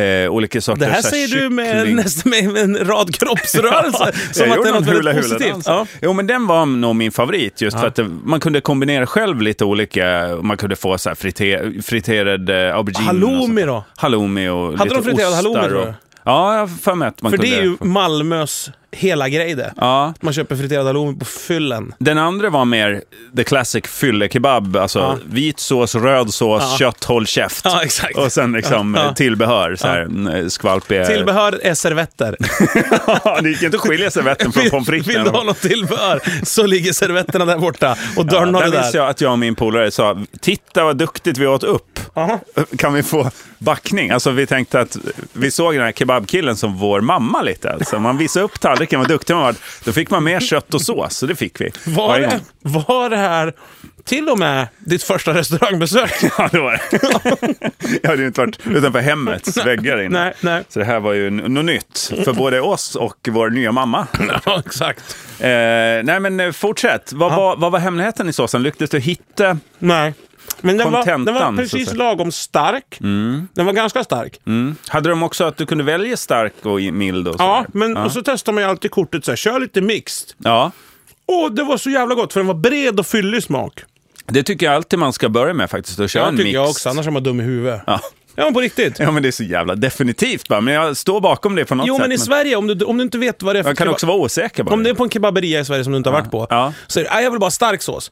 eh, olika sorters Ah. Det här så säger du med, (laughs) kyckling. nästan med, med en rad (laughs) kroppsrörelser. som Jag att det är gjorde något väldigt någon hula-hula-dans. positivt. Ja. Jo, men den var nog min favorit just för att det, man kunde kombinera själv lite olika. Man kunde få så här frite, friterad eh, aubergine. Halloumi och sånt där. då? Halloumi och Hade lite de friterad ostar halloumi, och- tror du? Ja, jag har för mig att man För kunde. det är ju Malmös hela grej det. Ja. Man köper friterad halloumi på fyllen. Den andra var mer the classic fyllekebab, alltså Ja. vit sås, röd sås, kött, håll käft. Ja, exakt. Och sen liksom Ja, eh, ja. tillbehör, så här, ja. skvalpiga... Tillbehör är servetter. (laughs) Ja, det gick inte att skilja servetten från pommes Vill, fritesen. vill du ha något tillbehör så ligger servetterna där borta och dörren har där du minns där. jag att jag och min polare sa, titta vad duktigt vi åt upp. Kan vi få backning? Alltså vi tänkte att vi såg den här kebabkillen som vår mamma lite. Alltså, man visade upp tallriken, vad duktig man var. Då fick man mer kött och sås, så det fick vi. Var Varje det, gång. var det här till och med ditt första restaurangbesök? (laughs) (laughs) Ja, det var det. (laughs) Jag hade ju inte varit utanför hemmets väggar innan. nej, nej. Så det här var ju n- något nytt för både oss och vår (laughs) nya mamma. ja, exakt. Eh, nej, men eh, fortsätt. Vad, var, vad var hemligheten i såsen? Lyckades du hitta? Nej. Men den var, den var Kontentan, så att precis säga. Mm. lagom stark. Den var ganska stark. Hade de också att du kunde välja stark och i- mild? Och Ja, sådär? men Och så testar man ju alltid kortet så här, kör lite mixed. ja, Åh, det var så jävla gott för den var bred och fyllig smak. det tycker jag alltid man ska börja med faktiskt. Att köra Ja, en tycker mix. jag också, annars är man dum i huvudet. Ja. Ja, men på riktigt. ja, men det är så jävla definitivt bara. Men jag står bakom det på något Jo, sätt. men i Sverige, om du, om du inte vet vad det är för jag kan kebab- också vara osäker bara. Om det är på en kebaberia i Sverige som du inte har varit på, Ja. så är det, "Ah, jag vill bara ha stark sås.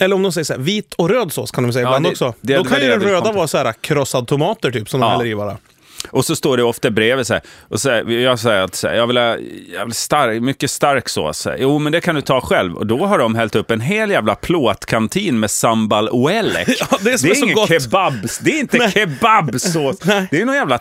Eller om de säger så här, vit och röd sås kan de säga Ja, ibland det- också. det Då hade kan ju varit den det jag röda kom till. vara så här äh, krossad tomater typ, som de Ja. häller i (laughs) bara. (laughs) Och så står det ofta bredvid så här, och så här, jag säger att så här, jag vill ha jag vill ha stark, mycket stark sås. Så här, Jo, men det kan du ta själv. Och då har de hällt upp en hel jävla plåtkantin med sambal oelek. (laughs) Ja, det är som är så ingen gott. kebabs, det är inte (laughs) kebabsås. Det är någon jävla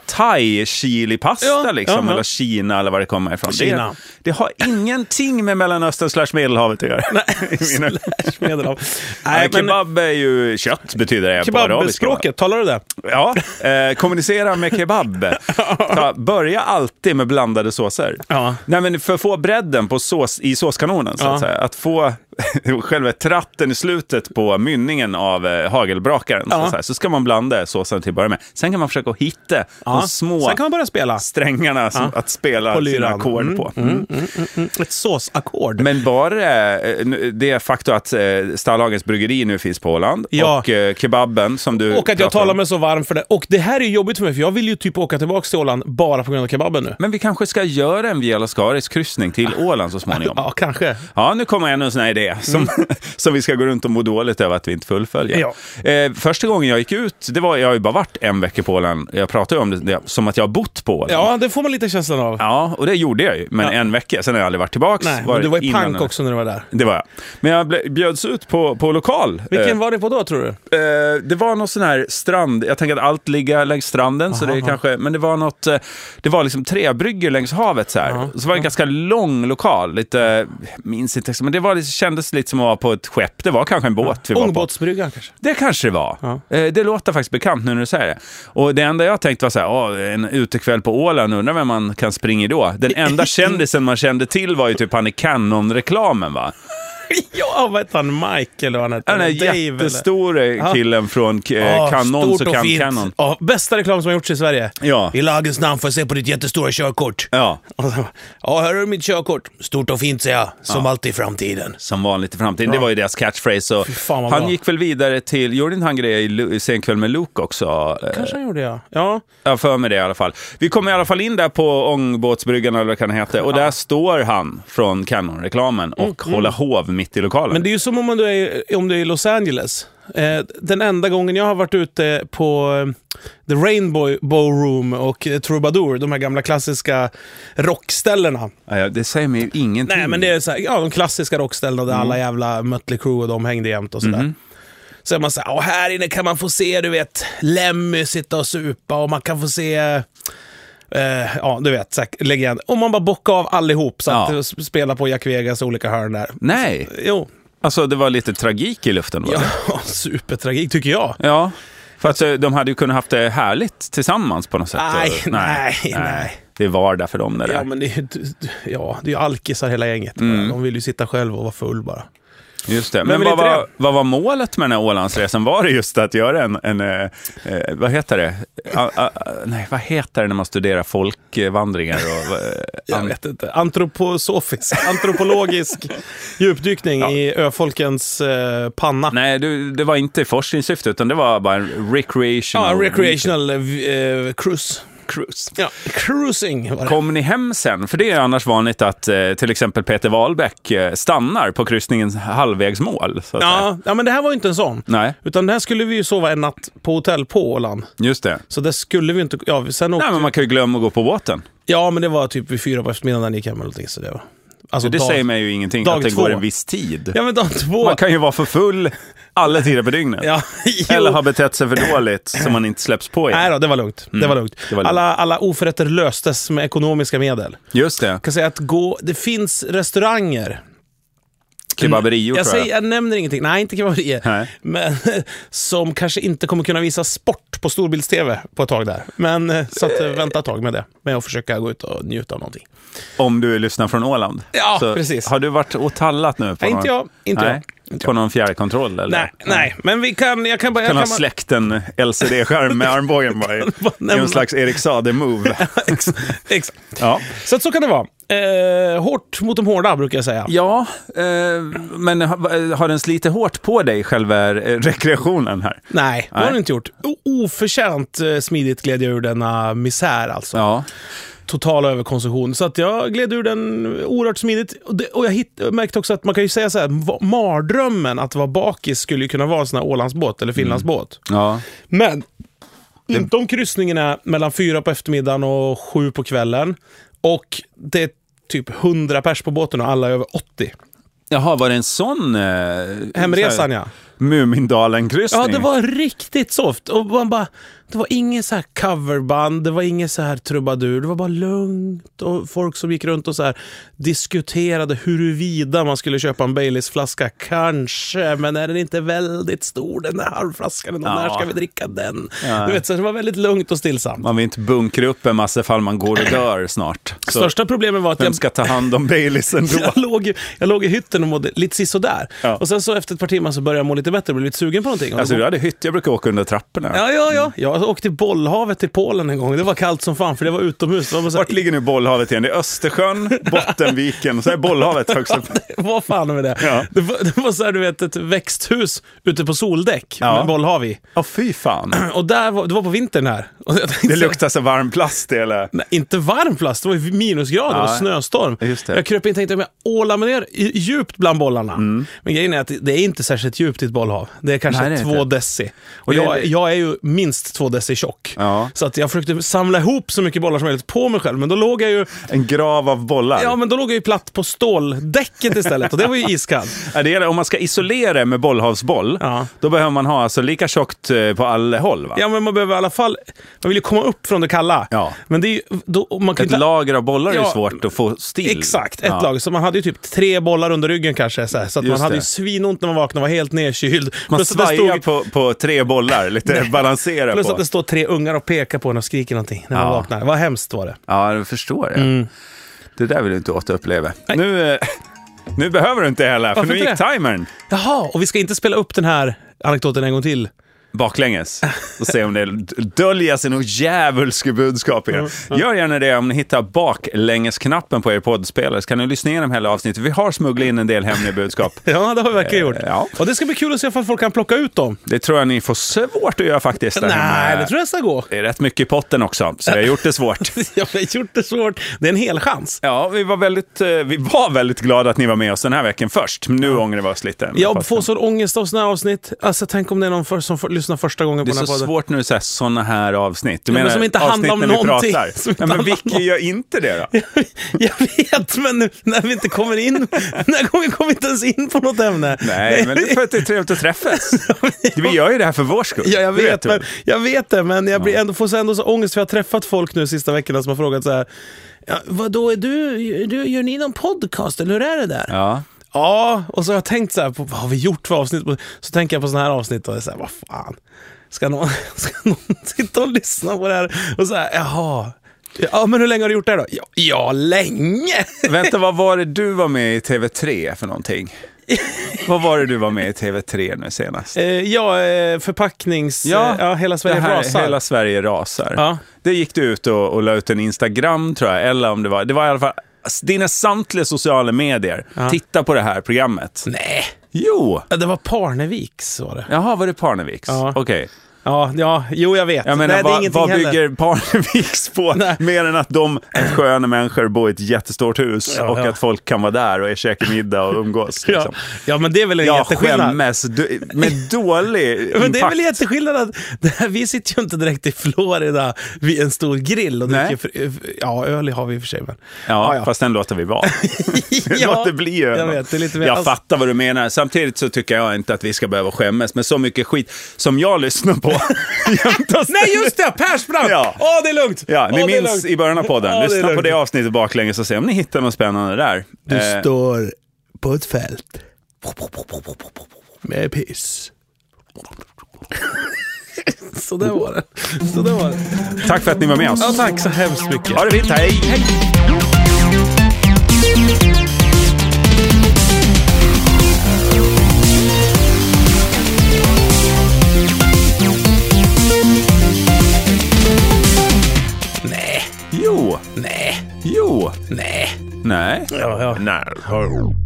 thai-chilipasta Ja, liksom, jaha. eller Kina eller var det kommer ifrån. Kina. Det, det har ingenting med Mellanöstern slash Medelhavet att göra. (laughs) I mina- (laughs) Medelhav. Nej, Nej, men kebab är ju kött, betyder det. på arabiska. kebabspråket, talar du det? Ja, eh, kommunicera med (laughs) kebab. Ta, börja alltid med blandade såser. Ja. Nej, men för att få bredden på sås, i såskanonen, så att, Ja. säga. att få (laughs) själva tratten i slutet på mynningen av eh, hagelbrakaren, så, Ja. att säga. så ska man blanda såsen till att börja med. Sen kan man försöka att hitta de små Sen kan man börja spela strängarna som, att spela På sina lyran. ackord Mm, på. ett såsackord. Men bara eh, nu- det faktum att eh, Stallhagens bryggeri nu finns på Åland Ja. och eh, kebaben som du Och att jag pratar talar om. mig så varm för det. Och det här är ju jobbigt för mig, för jag vill ju typ åka tillbaka till Åland bara på grund av kebaben nu. Men vi kanske ska göra en Via Lascaris kryssning till Åland så småningom. (laughs) Ja, Mm. kanske. Ja, nu kommer ännu en sån här idé som, (laughs) som vi ska gå runt och må dåligt över att vi inte fullföljer. Ja. Eh, första gången jag gick ut, det var, jag har ju bara varit en vecka på Åland. Jag pratar ju om det, det som att jag har bott på Åland. Ja, det får man lite känslan av. Ja, och det gjorde jag ju, men Ja. en vecka. Sen har jag aldrig varit tillbaka. Nej, men du var i pank också när du var där. Det var jag. Men jag ble- bjöds ut på, på lokal. Vilken Eh, var det på då, tror du? Eh, det var någon sån här strand, jag tänker att allt ligger längs stranden, så det är kanske, men det var något, eh, det var liksom träbryggor längs havet så här. Så var det en ganska lång lokal, lite, jag minns inte, men det var, det kändes lite som att vara på ett skepp, det var kanske en båt vi var på. Ångbåtsbryggan kanske? Det kanske det var. Eh, Det låter faktiskt bekant nu när du säger det. Och det enda jag tänkte var så här, "Åh, en utekväll på Åland, undrar vem man kan springa i då? Den (laughs) enda kändisen man kände till var ju typ han i Canon-reklamen va? Ja, vad hette han? Mike eller vad han hette? Den där eller? jättestora killen från Ja, eh, Canon, stort så och kan fint. Canon. Ja, bästa reklam som har gjorts i Sverige. Ja. I lagens namn får jag se på ditt jättestora körkort. Ja, Och så, (laughs) Ja, här är mitt körkort. Stort och fint säger jag, som alltid i framtiden. som vanligt i framtiden. Det var ju deras catchphrase. Och fan vad han bra. gick väl vidare till, gjorde inte han grejer i Lu- Sen kväll med Luke också? Eh, Kanske han gjorde jag. Ja. Jag har för mig det i alla fall. Vi kommer i alla fall in där på ångbåtsbryggan eller vad det kan heta. Och där står han från Canon-reklamen och håller hov namn mitt i lokalen. Mm. Men det är ju som om du är, om du är i Los Angeles. Eh, den enda gången jag har varit ute på eh, The Rainbow Bow Room och eh, Troubadour, de här gamla klassiska rockställena. Ja, ja, det säger mig ju ingenting. Nej, men det är så här, ja, de klassiska rockställena där alla jävla Mötley Crüe och de hängde jämt och sådär. Så är man så här, "Åh, här inne kan man få se, du vet, Lemmy sitta och supa och man kan få se, eh, ja, du vet, så här, legend. Och man bara bockar av allihop, så att Ja. eh, sp- spela på Jack Vegas olika hörn där. Nej, Jo, alltså det var lite tragik i luften. Var ja, (laughs) det? supertragik tycker jag. ja. För att eh, de hade ju kunnat haft det härligt tillsammans på något sätt. Nej, Och- nej, nej. Det är vardag för dem det där. Ja, Mm. men det är ju ja, det är ju alkisar hela gänget. De vill ju sitta själv och vara full bara. Just det. Men Men, vill vad, inte var, det? vad var målet med den här Ålandsresan? Var det just att göra en, en eh, eh, vad heter det? A, a, a, nej, vad heter det när man studerar folkvandringar? (laughs) Och, eh, Jag an- vet inte. Antroposofisk, (laughs) antropologisk djupdykning i öfolkens eh, panna. nej, du, det var inte i forskningssyfte, utan det var bara en Ja, recreational... recreational eh, cruise. cruise. Ja, cruising var det. Kom ni hem sen? För det är annars vanligt att eh, till exempel Peter Wahlbeck eh, stannar på kryssningens halvvägs mål. Så att säga. Ja, ja, men det här var ju inte en sån. Nej, Utan där skulle vi ju sova en natt på hotell på Åland. just det. Så där skulle vi inte... Ja, sen åkte, Nej, men man kan ju glömma att gå på båten. ja, men det var typ vid fyra på eftermiddagen när ni gick hem eller någonting. Så det var... Alltså, Det dag- säger mig ju ingenting dag att det två. går en viss tid. Ja, men dag två. Man kan ju vara för full alla tider på dygnet. Ja, jo. Eller ha betett sig för dåligt så man inte släpps på Nej igen. då, det var lugnt. Det var lugnt. Mm. det var lugnt. Alla, alla oförrätter löstes med ekonomiska medel. Jag Just det. kan säga att gå, det finns restauranger. Kebaberior Mm. Jag, tror säger, jag. jag nämner ingenting, nej inte kebaberier, Nej. men (laughs) som kanske inte kommer kunna visa sport på storbilds-tv på ett tag där. Men eh, så att, eh, vänta ett tag med det, med att försöka gå ut och njuta av någonting. Om du lyssnar från Åland. Ja, precis. Har du varit och tallat nu? På Nej, någon... inte jag, inte Nej. jag. Inte På jag. någon fjärrkontroll eller? Nej, nej, men vi kan, jag kan bara... Kan jag ha kan bara- släckt en (laughs) LCD-skärm med armbågen bara i, bara i nämna. en slags (laughs) Erik Saade-move. (laughs) Ex- Exakt. ja. Så att så kan det vara. Eh, hårt mot de hårda brukar jag säga. ja, eh, men ha- har den slitit hårt på dig, själva eh, rekreationen här? Nej, det har Nej. den inte gjort. O- oförtjänt eh, smidigt gled jag ur denna misär alltså. Ja. Total överkonsumtion. Så att jag gled ur den oerhört smidigt. Och, det, och jag hitt, märkte också att man kan ju säga så här, va- mardrömmen att vara bakis skulle ju kunna vara en sån här Ålandsbåt eller Finlandsbåt. ja. Men, inte om kryssningen är mellan fyra på eftermiddagen och sju på kvällen. Och det är typ 100 pers på båten och alla är över 80. Jaha, var det en sån... Eh, så här- Hemresan ja. Mumindalen-kryssning. Ja, det var riktigt soft. Och man bara, det var inget så här coverband, det var inget så här trubadur. Det var bara lugnt och folk som gick runt och så här diskuterade huruvida man skulle köpa en Baileys-flaska. Kanske, men är den inte väldigt stor den där halvflaskan? Och Ja. Alltså, När ska vi dricka den? Du vet, så det var väldigt lugnt och stillsamt. Man vill inte bunkra upp en massa ifall man går och dör snart. Så Största problemet var att vem jag, ska ta hand om Baileys ändå? (laughs) jag, låg, ju- jag låg i hytten och mådde lite sisådär. Ja. Och sen så efter ett par timmar så började jag må lite bättre och blev lite sugen på någonting. Och då Alltså du hade hytt, jag brukar åka under trapporna. Ja, ja, ja. Jag åkte till bollhavet till Polen en gång. Det var kallt som fan för det var utomhus. Det var, så Vart ligger nu bollhavet igen? Det är Östersjön, Bottenviken och så är bollhavet (laughs) högst upp. (laughs) vad fan med det? Ja. Det, var, det var så här, du vet, ett växthus ute på soldäck Ja. med bollhav i. Ja, fy fan. Och där var, det var på vintern här. Och jag tänkte Det så här, luktar så varm plast i hela... Nej, inte varm plast, det var ju minusgrader och Ja, snöstorm. just det. Jag kröp in och tänkte om jag ålar mig ner i- djupt bland bollarna. Men grejen är att det är inte särskilt djupt i ett bollhav. Det är kanske Mm. Nej, det är två inte. deci. Och det är- jag, jag är ju minst två deci tjock. Ja. Så att jag försökte samla ihop så mycket bollar som möjligt på mig själv. Men då låg jag ju En grav av bollar. Ja, men då låg jag ju platt på ståldäcket istället och det var ju iskallt. Ja, det gäller, om man ska isolera med bollhavsboll, Ja. då behöver man ha alltså lika tjockt eh, på alla håll. Va? Ja, men man behöver i alla fall... Man vill ju komma upp från det kalla. Ja. Men det är ju... Då, man kan Ett ju inte, lager av bollar är Ja, ju svårt att få still. Exakt, ett Ja. lag. Så man hade ju typ tre bollar under ryggen kanske. Så, här, så att man Just hade ju det. svinont när man vaknade och var helt nedkyld. Man plus att det svajar stod, på, på tre bollar, lite balansera plus på. att det står tre ungar och pekar på en och skriker någonting när man Ja. vaknar. Vad hemskt var det. Ja, jag förstår jag. Mm. Det där vill du inte återuppleva. Nu, eh, nu behöver du inte heller, för Varför nu inte gick det? timern. Jaha, och vi ska inte spela upp den här anekdoten en gång till. (laughs) baklänges och se om det döljer sig något djävulskt budskap i det. Gör gärna det om ni hittar baklängesknappen på er poddspelare så kan ni lyssna igenom hela avsnittet. Vi har smugglat in en del hemliga budskap. Ja, det har vi verkligen gjort. Eh, ja. Och det ska bli kul att se om folk kan plocka ut dem. Det tror jag ni får svårt att göra faktiskt. där Nej, hemma. det tror jag ska gå. (laughs) Det är rätt mycket i potten också, så vi har gjort det svårt. Jag har gjort det svårt. Det är en hel chans. Ja, vi var, väldigt, eh, vi var väldigt glada att ni var med oss den här veckan först. Nu ångrar vi oss lite. Jag får sån ångest av sådana här avsnitt. Alltså, tänk om det är någon för, som får, lyssnar första gången Det är på den så här podden. svårt nu, sådana här avsnitt. Du men menar som inte avsnitt handlar om när vi någonting. pratar. (laughs) Som inte Ja, men handlar om vilka gör inte det då? (laughs) Jag vet, men nu, när vi inte kommer in, (laughs) den här gången kommer vi inte ens in på något ämne. Nej, men det är för att det är trevligt att träffas. Vi gör ju det här för vår skull. (laughs) Ja, jag Det vet, du. men, jag vet det, men jag blir ändå, får så ändå så ångest för jag har träffat folk nu sista veckorna som har frågat så här. Ja, vadå, är du, är du, gör ni någon podcast eller hur är det där? Ja, Ja. och så har jag tänkt så här, på, vad har vi gjort för avsnitt? Så tänker jag på sådana här avsnitt och det är så här, vad fan. Ska någon, (laughs) ska någon sitta och lyssna på det här? Och så här, jaha. Ja, men hur länge har du gjort det här då? Ja, ja (laughs) länge! Vänta, vad var det du var med i TV3 (laughs) för någonting? vad var det du var med i TV3 nu senast? Eh, ja, eh, förpacknings... Ja, eh, ja hela Sverige det här, rasar. Hela Sverige rasar. Ja. Det gick du ut och, och la ut en Instagram, tror jag. Eller om det var... Det var i alla fall dina samtliga sociala medier. Titta på det här programmet. Nej, Jo! Ja, det var Parneviks var det. Jaha, var det Parneviks? Ja. Okej. Ja, ja, jo jag vet. Jag menar, Nej, det är vad, ingenting vad heller. bygger Parneviks på? (laughs) Nej. Mer än att de är sköna människor bor i ett jättestort hus Ja, och ja. att folk kan vara där och käka middag och umgås. Ja. Liksom. ja, men det är väl en Jag jätteskillnad. skämmes du, (laughs) med dålig impact. Men det är väl jätteskillnad att (laughs) det här, vi sitter ju inte direkt i Florida vid en stor grill och Nej. dricker... fr- eh, Ja, öl har vi i och för sig, (laughs) men... Ja, ja. fast den låter (laughs) vi vara. (laughs) Ja, Låt det bli öl. jag vet, det är lite mer- jag alltså- fattar vad du menar. Samtidigt så tycker jag inte att vi ska behöva skämmas med så mycket skit som jag lyssnar på. (laughs) jämt och Nej, just det! Persbrandt! Ja, Ja. det är lugnt! Ja, ni Åh, det är minns lugnt. i början av podden. Ja, det är Lyssna på lugnt. det avsnittet baklänges och se om ni hittar något spännande där. Du Eh, står på ett fält med piss. Så där var det. Så där var det. tack för att ni var med oss. Ja, tack så hemskt mycket. Ha det fint, hej! hej. Nej, Jo, nej, jo, nej. nej. 哎啊 Ja, ja. nej.